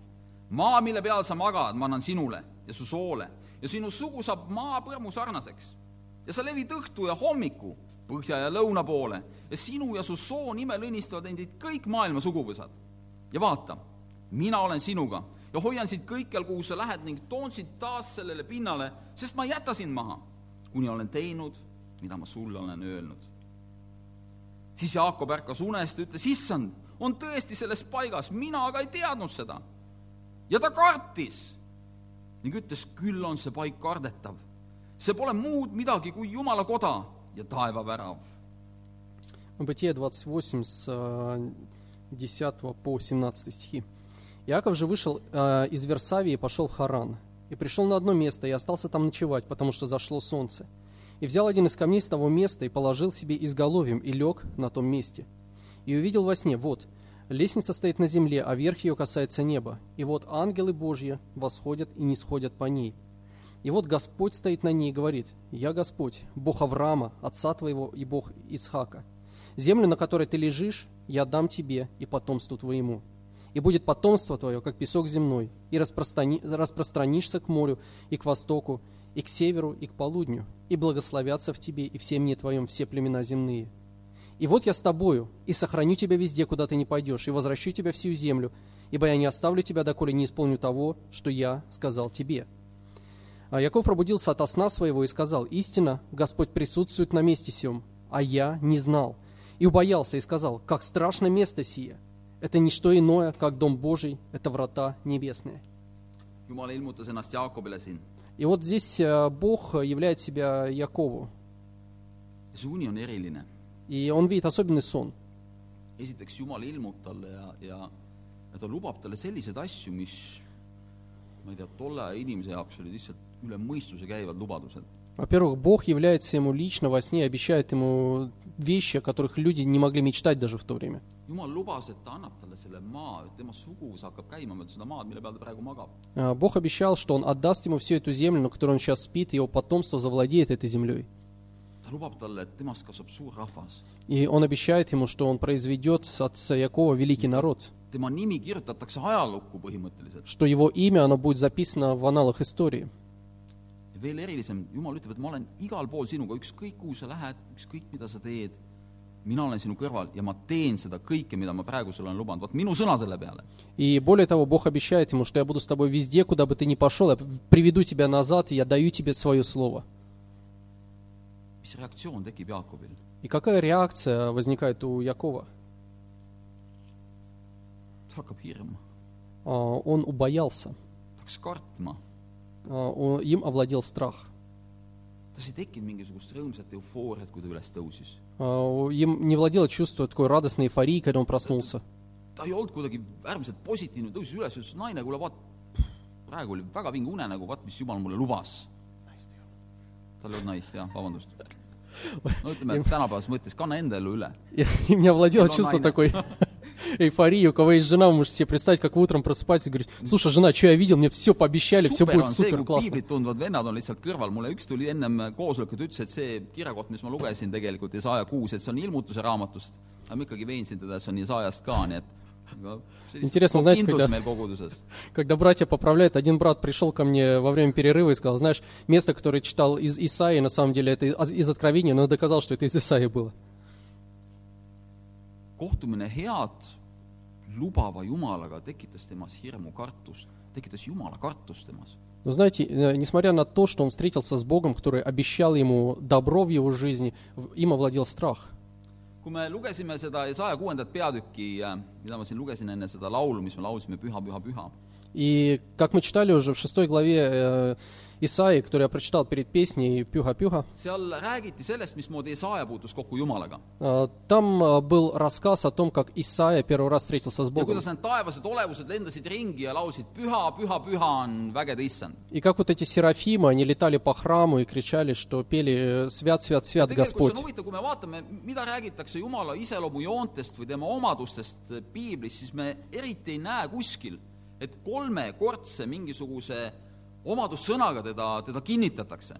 maa , mille peal sa magad , ma annan sinule ja su soole ja sinu sugu saab maapõrmu sarnaseks ja sa levid õhtu ja hommiku põhja ja lõuna poole ja sinu ja su soo nimel õnnistavad endid kõik maailma suguvõsad . ja vaata , mina olen sinuga ja hoian sind kõikjal , kuhu sa lähed ning toon sind taas sellele pinnale , sest ma ei jäta sind maha , kuni olen teinud , mida ma sulle olen öelnud . siis Jaakob ärkas unest ja ütles , issand , on tõesti selles paigas , mina aga ei teadnud seda . ja ta kartis ning ütles , küll on see paik kardetav . see pole muud midagi kui Jumala koda ja taevavärav .
Бытие 28 с э, 10 по 17 стихи. Иаков же вышел э, из Версавии и пошел в Харан. И пришел на одно место и остался там ночевать, потому что зашло солнце. И взял один из камней с того места и положил себе изголовьем и лег на том месте. И увидел во сне, вот, лестница стоит на земле, а верх ее касается неба. И вот ангелы Божьи восходят и не сходят по ней. И вот Господь стоит на ней и говорит, «Я Господь, Бог Авраама, отца твоего и Бог Ицхака. Землю, на которой ты лежишь, я дам тебе и потомству твоему. И будет потомство твое, как песок земной, и распространи- распространишься к морю и к востоку, и к северу, и к полудню, и благословятся в тебе и в семье твоем все племена земные. И вот я с тобою, и сохраню тебя везде, куда ты не пойдешь, и возвращу тебя всю землю, ибо я не оставлю тебя, доколе не исполню того, что я сказал тебе. А Яков пробудился ото сна своего и сказал, «Истина, Господь присутствует на месте сем, а я не знал». И убоялся и сказал, «Как страшно место сие! Это не что иное, как дом Божий, это врата небесные».
Jumal ilmutas ennast Jaakobile siin .
И вот здесь э, Бог являет себя Якову,
see uni on eriline .
и он видит особенный сон.
esiteks , Jumal ilmub talle ja , ja , ja ta lubab talle selliseid asju , mis ma ei tea , tolle aja inimese jaoks olid lihtsalt üle mõistuse käivad lubadused .
Во-первых, Бог является ему лично во сне, и обещает ему вещи, о которых люди не могли мечтать даже в то время.
jumal lubas , et ta annab talle selle maa , et tema suguvõs hakkab käima mööda seda maad , mille peal ta praegu magab .
А, Бог обещал, что он отдаст ему всю эту землю, на которой он сейчас спит, и его потомство завладеет этой землей.
ta lubab talle , et temast kasvab suur rahvas .
И он обещает ему, что он произведет с отца Якова великий народ,
tema nimi kirjutatakse ajalukku põhimõtteliselt .
что его имя, оно будет записано в аналах истории.
veel erilisem , Jumal ütleb , et ma olen igal pool sinuga , ükskõik kuhu sa lähed , ükskõik mida sa teed , mina olen sinu kõrval ja ma teen seda kõike , mida ma praegu sulle olen lubanud , vot minu sõna selle peale .
И более того, Бог обещает ему, что я буду с тобой везде, куда бы ты ни пошел, я приведу тебя назад, и я даю тебе свое слово.
mis reaktsioon tekib Jaakobil ?
И какая реакция возникает у Якова?
tal hakkab hirm ,
А, Он убоялся,
ta hakkas kartma ,
А, он- им овладел страх.
tas ei tekkinud mingisugust rõõmsat eufooriat , kui ta üles tõusis .
А, Им не владело чувство такой радостной эйфории, когда он проснулся.
ta ei olnud kuidagi äärmiselt positiivne , tõusis üles , ütles naine , kuule vaat , praegu oli väga vinge unenägu , vaat mis jumal mulle lubas . tal ei olnud naist , jah , (laughs) vabandust . no ütleme , tänapäevases mõttes kanna enda elu üle .
И и меня овладело
Его
чувство
майна.
такой (laughs) эйфории. У кого есть жена, вы можете себе представить, как вы утром просыпаетесь и говорите, слушай, жена, что я видел, мне все пообещали, все
super
будет
on see ,
супер,
kui
классно.
piiblit tundvad vennad on lihtsalt kõrval , mulle üks tuli ennem koosolekut , ütles , et see kirjakoht , mis ma lugesin tegelikult , Jesaja kuus , et see on ilmutuse raamatust , aga ma ikkagi veensin teda , et see on Jesajast ka , nii et aga see lihtsalt
Интересно,
on
знаете,
kindlus
когда-
meil koguduses .
Когда братья поправляют, один брат пришел ко мне во время перерыва и сказал, знаешь, место, которое читал из Исаии, на самом деле это из из Откровения, но доказал, что это из Исаии было.
kohtumine head lubava Jumalaga tekitas temas hirmu , kartust , tekitas Jumala kartust temas .
Но знаете, э, несмотря на то, что он встретился с Богом, который обещал ему добро в его жизни, в- им овладел страх.
kui me lugesime seda Jesaja kuuendat peatükki , mida ma siin lugesin enne seda laulu , mis me laulsime , Püha , püha , püha
И как мы читали уже в шестой главе э, Исаии, которую я прочитал перед песней «Пюха-пюха»,
seal räägiti sellest , mismoodi Jesaja puutus kokku Jumalaga
э, там э, был рассказ о том, как Исаия первый раз встретился с
ja
Богом.
kuidas need taevased olevused lendasid ringi ja laulsid püha , püha , püha on vägede issand .
И как вот эти серафимы, они летали по храму и кричали, что пели э, «Свят, свят, свят
tegelikult
Господь».
see on huvitav , kui me vaatame , mida räägitakse Jumala iseloomujoontest või tema omadustest piiblis , siis me eriti ei näe kuskil , et kolmekordse mingisuguse omadussõnaga teda , teda kinnitatakse .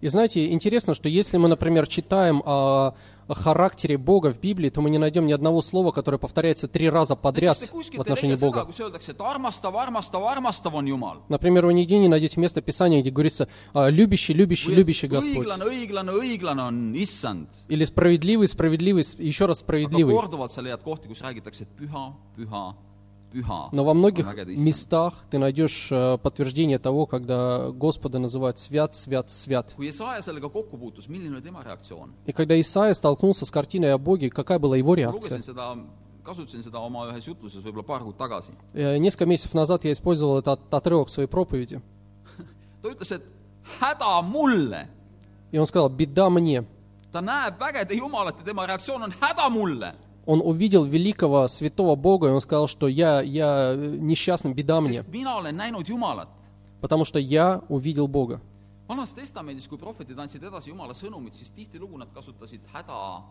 И знаете, интересно, что если мы, например, читаем о о характере Бога в Библии, то мы не найдем ни одного слова, которое повторяется три раза подряд
näiteks te
в
kuskilt ei
отношении
leia seda
Бога. ,
kus öeldakse , et armastav , armastav , armastav on Jumal .
Например, вы нигде не найдете место Писания, где говорится а, «любящий, любящий,
või et
любящий Господь».
õiglane , õiglane , õiglane on issand .
Или «справедливый, справедливый, сп- еще раз
aga
справедливый».
korduvalt sa leiad kohti , kus räägitakse , et püha , püha , püha .
Но во многих
on vägede issand .
местах ты найдешь э, подтверждение того, когда Господа называют «свят, свят, свят».
kui Jesaja sellega kokku puutus , milline oli tema reaktsioon ?
И когда Исаия столкнулся с картиной о Боге, какая была его
ma
реакция?
lugesin seda , kasutasin seda oma ühes jutluses võib-olla paar kuud tagasi .
Э, Несколько месяцев назад я использовал этот отрывок в своей проповеди.
ta ütles , et häda mulle .
И он сказал «беда мне».
ta näeb vägede Jumalat ja tema reaktsioon on häda mulle .
Он увидел великого святого Бога, и он сказал, что я, я э, несчастный, беда мне,
sest mina olen näinud Jumalat .
потому что я увидел Бога.
vanas testamendis , kui prohvetid andsid edasi Jumala sõnumit , siis tihtilugu nad kasutasid häda ,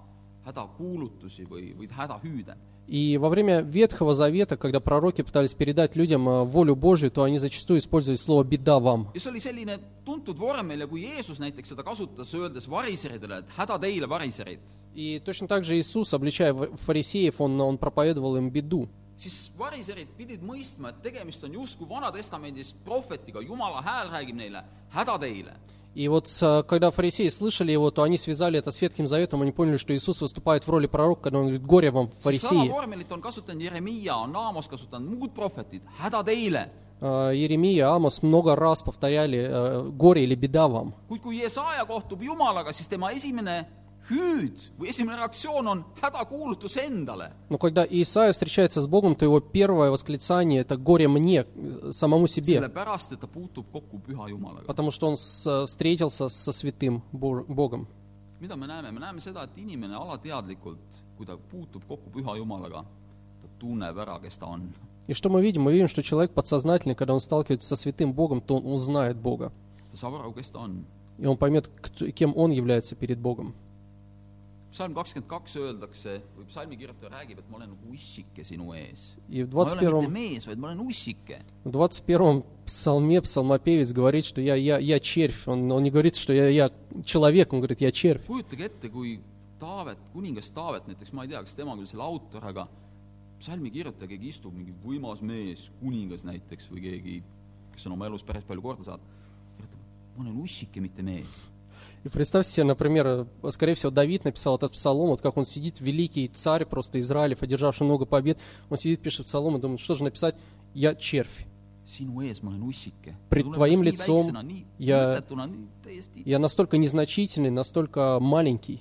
hädakuulutusi või , või hädahüüde .
И во время Ветхого Завета, когда пророки пытались передать людям э, волю Божью, то они зачастую использовали слово «беда вам».
ja see oli selline tuntud vormel ja kui Jeesus näiteks seda kasutas , öeldes variseridele , et häda teile , variserid ,
И точно так же Иисус, обличая ва- фарисеев, он, он проповедовал им беду.
siis variserid pidid mõistma , et tegemist on justkui Vana-testamendis prohvetiga , Jumala hääl räägib neile , häda teile .
И вот с, э, когда фарисеи слышали его, то они связали это с Ветхим Заветом, они поняли, что Иисус выступает в роли пророка, когда он говорит «горе вам,
sama
фарисеи».
vormelit on kasutanud Jeremiah , on Naamos kasutanud muud prohvetid , häda teile .
э, Еремия, Амос много раз повторяли э, «горе» или «беда вам».
kuid kui Jesaja kohtub Jumalaga , siis tema esimene hüüd või esimene reaktsioon on hädakuulutus endale .
Но когда Исаия встречается с Богом, то его первое восклицание – это «горе мне, э, самому себе»,
sellepärast , et ta puutub kokku püha Jumalaga .
потому что он с- встретился со святым Бо- Богом.
mida me näeme , me näeme seda , et inimene alateadlikult , kui ta puutub kokku püha Jumalaga , ta tunneb ära , kes ta on .
И что мы видим? Мы видим, что человек подсознательно, когда он сталкивается со святым Богом, то он узнает Бога.
ta saab aru , kes ta on .
И он поймет, кто- кем он является перед Богом.
psalm kakskümmend kaks öeldakse , või psalmi kirjutaja räägib , et ma olen nagu ussike sinu ees .
И в
ma ei ole
21,
mitte mees , vaid ma olen ussike .
в 21 псалме псалмопевец говорит, что я, я, я червь. Он, он не говорит, что я, я человек, он говорит, я червь.
kujutage ette , kui Taavet , kuningas Taavet näiteks , ma ei tea , kas tema küll selle autor , aga psalmi kirjutaja , keegi istub , mingi võimas mees , kuningas näiteks või keegi , kes on oma elus päris palju korda saanud , kirjutab , ma olen ussike , mitte mees .
И представьте себе, например, э, скорее всего, Давид написал этот псалом, вот как он сидит, великий царь просто Израилев, одержавший много побед, он сидит, пишет псалом и думает, что же написать? Я червь.
sinu ees ma olen ussike .
Pred tvojim litsom
nii
ja-
mõttetuna , nii täiesti ja.
Я настолько незначительный, настолько маленький.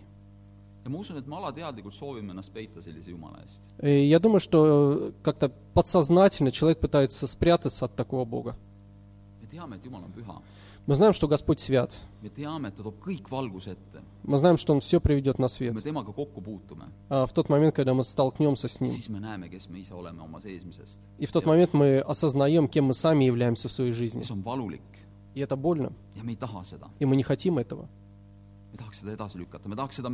ja ma usun , et me alateadlikult soovime ennast peita sellise jumala eest .
И я думаю, что э, как-то подсознательно человек пытается спрятаться от такого Бога.
me teame , et Jumal on püha .
Мы знаем, что Господь свят.
me teame , et ta toob kõik valguse ette .
Мы знаем, что Он все приведет на
kui
свет.
me temaga kokku puutume ,
А в тот момент, когда мы столкнемся с Ним,
siis me näeme , kes me ise oleme oma seesmisest .
и в тот момент мы осознаем, кем мы сами являемся в своей жизни.
mis on valulik
И это больно,
ja me ei taha seda .
и мы не хотим этого.
me tahaks seda edasi lükata , me tahaks seda ,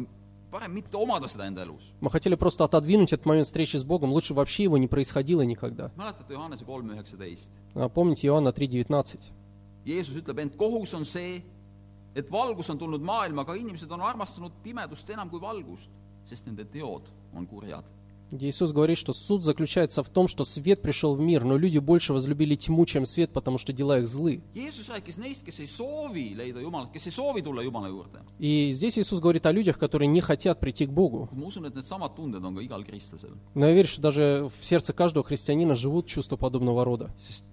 parem mitte omada seda enda elus .
Мы хотели просто отодвинуть этот момент встречи с Богом, лучше вообще его не происходило никогда.
mäletate Johannese kolm üheksateist ?
А Помните Иоанна 3,19?
Jeesus ütleb , ent kohus on see , et valgus on tulnud maailma , aga inimesed on armastanud pimedust enam kui valgust , sest nende teod on kurjad .
Где Иисус говорит, что суд заключается в том, что свет пришел в мир, но люди больше возлюбили тьму, чем свет, потому что дела их злы.
Jeesus rääkis neist , kes ei soovi leida Jumalat , kes ei soovi tulla Jumala juurde .
И здесь Иисус говорит о людях, которые не хотят прийти к Богу.
ma usun , et needsamad tunded on ka igal kristlasel ,
Но я верю, что даже в сердце каждого христианина живут чувства подобного рода.
sest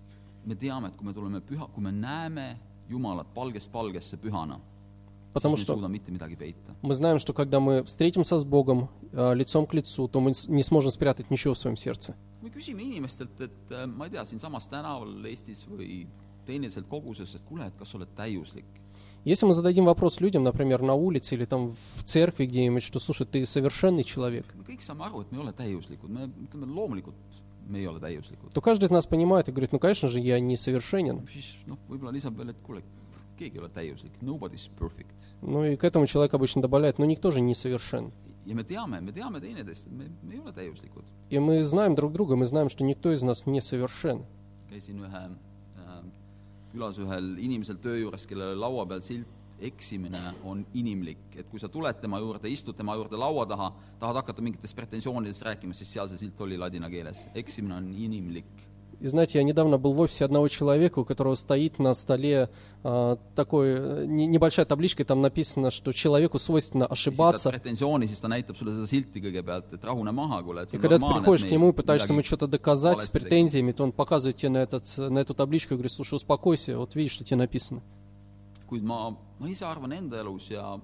me teame , et kui me tuleme püha , kui me näeme Jumalat palgest palgesse pühana , siis
Потому
me ei
что
suuda mitte midagi peita .
мы знаем, что когда мы встретимся с Богом э, лицом к лицу, то мы с- не сможем спрятать ничего в своем сердце.
me küsime inimestelt , et äh, ma ei tea , siinsamas tänaval Eestis või teeniliselt koguses , et kuule , et kas sa oled täiuslik ?
Если мы зададим вопрос людям, например, на улице или там в церкви где-нибудь, что, слушай, ты совершенный человек,
me kõik saame aru , et me ei ole täiuslikud , me ütleme loomulikult , me ei ole täiuslikud .
то каждый из нас понимает и говорит, ну, конечно же, я несовершенен.
siis noh , võib-olla lisab veel , et kuule , keegi ei ole täiuslik , nobody's perfect .
Ну и к этому человек обычно добавляет, ну, никто же не совершен.
ja me teame , me teame teineteist , et me , me ei ole täiuslikud .
И мы знаем друг друга, мы знаем, что никто из нас не совершен.
käisin ühe äh, külas ühel inimesel töö juures , kellel oli laua peal silt eksimine on inimlik , et kui sa tuled tema juurde , istud tema juurde laua taha , tahad hakata mingitest pretensioonidest rääkima , siis seal see silt oli ladina keeles . eksimine on inimlik .
И знаете, я недавно был в офисе одного человека, у которого стоит на столе а, такой э, не- небольшая табличка, и там написано, что человеку свойственно
esitad
ошибаться.
pretensiooni , siis ta näitab sulle seda silti kõigepealt , et rahune maha , kuule , et
И
see on
когда ты приходишь к
normaalne ,
нему и
et
пытаешься ему
midagi
что-то доказать с
Полезно.
претензиями, то он показывает тебе на, этот, на эту табличку и говорит, слушай, успокойся, вот видишь, что тебе написано.
kuid ma , ma ise arvan enda elus ja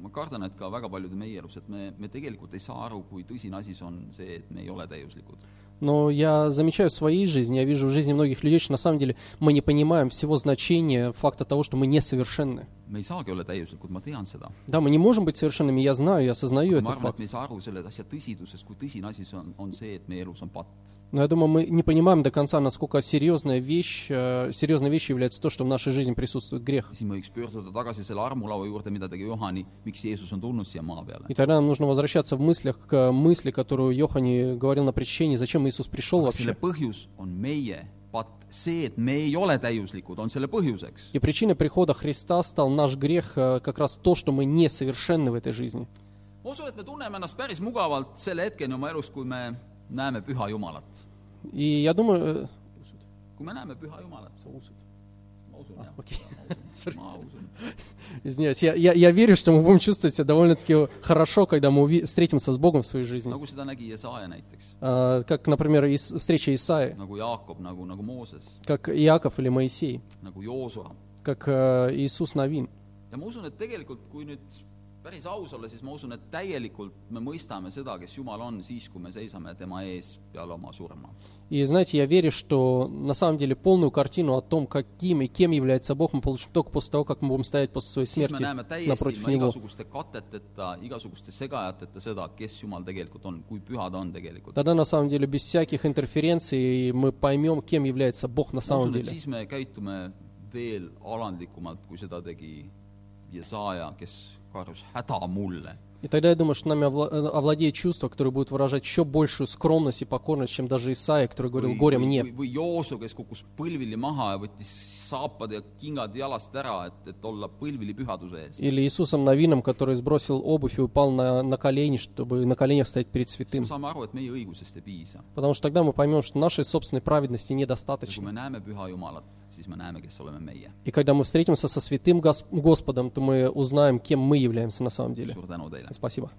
ma kardan , et ka väga paljude meie elus , et me , me tegelikult ei saa aru , kui tõsine asi see on see , et me ei ole täiuslikud .
Но я замечаю в своей жизни, я вижу в жизни многих людей, что на самом деле мы не понимаем всего значения факта того, что мы несовершенны.
me ei saagi olla täiuslikud , ma tean seda .
Да, мы не можем быть совершенными, я знаю, я осознаю
ma
этот
arvan ,
факт.
et me ei saa aru selle asja tõsidusest , kui tõsine asi see on , on see , et meie elus on patt .
Но я думаю, мы не понимаем до конца, насколько серьезная вещь, э, серьезной вещью является то, что в нашей жизни присутствует грех.
ja siis me võiks pöörduda tagasi selle armulaua juurde , mida tegi Johani , miks Jeesus on tulnud siia maa peale
И . тогда нам нужно возвращаться в мыслях к мысли, которую Йохани говорил на причине, зачем Иисус пришел
aga selle
вообще.
põhjus on meie patt , see , et me ei ole täiuslikud , on selle põhjuseks .
И причиной прихода Христа стал наш грех, э, как раз то, что мы несовершенны в этой жизни.
ma usun , et me tunneme ennast päris mugavalt selle hetkeni oma elus , kui me näeme püha Jumalat .
И я думаю, э,
kui me näeme püha Jumalat , ma usun
Ah,
jah
okei. ,
ma usun .
(laughs) Извиняюсь, я, я, я верю, что мы будем чувствовать себя довольно-таки хорошо, когда мы уви- встретимся с Богом в своей жизни.
nagu seda nägi Jesaja näiteks ,
А, Как, например, Ис- встреча Исаи,
nagu Jaakob , nagu , nagu Mooses ,
как Иаков или Моисей,
nagu Joosua
как э, Иисус Новин.
ja ma usun , et tegelikult , kui nüüd päris aus olla , siis ma usun , et täielikult me mõistame seda , kes Jumal on , siis kui me seisame tema ees peale oma surma .
И знаете, я верю, что на самом деле полную картину о том, каким и кем является Бог, мы получим только после того, как мы будем стоять после своей
siis me
смерти
näeme täiesti
напротив
ilma
Него.
igasuguste kateteta , igasuguste segajateta seda , kes Jumal tegelikult on , kui püha ta on tegelikult .
Тогда, на самом деле, без всяких интерференций мы поймем, кем является Бог на
ma
самом
usun , et
деле.
siis me käitume veel alandlikumalt , kui seda tegi Jesaja , kes karjus häda mulle .
И тогда я думаю, что нами овла- э, овладеет чувство, которое будет выражать еще большую скромность и покорность, чем даже Исаия, который говорил
või ,
«Горе
või,
мне».
või- või Joosu , kes kukkus põlvili maha ja võttis saapad ja kingad jalast ära , et , et olla põlvili pühaduse ees .
Или Иисусом Новином, который сбросил обувь и упал на, на колени, чтобы на коленях стоять перед святым.
me saame aru , et meie õigusest ei piisa .
Потому что тогда мы поймем, что нашей собственной праведности
ja kui
недостаточно.
me näeme püha Jumalat , siis me näeme , kes oleme meie .
И когда мы встретимся со святым Гос- Господом, то мы узнаем, кем мы являемся на самом деле.
suur tänu teile .
Спасибо.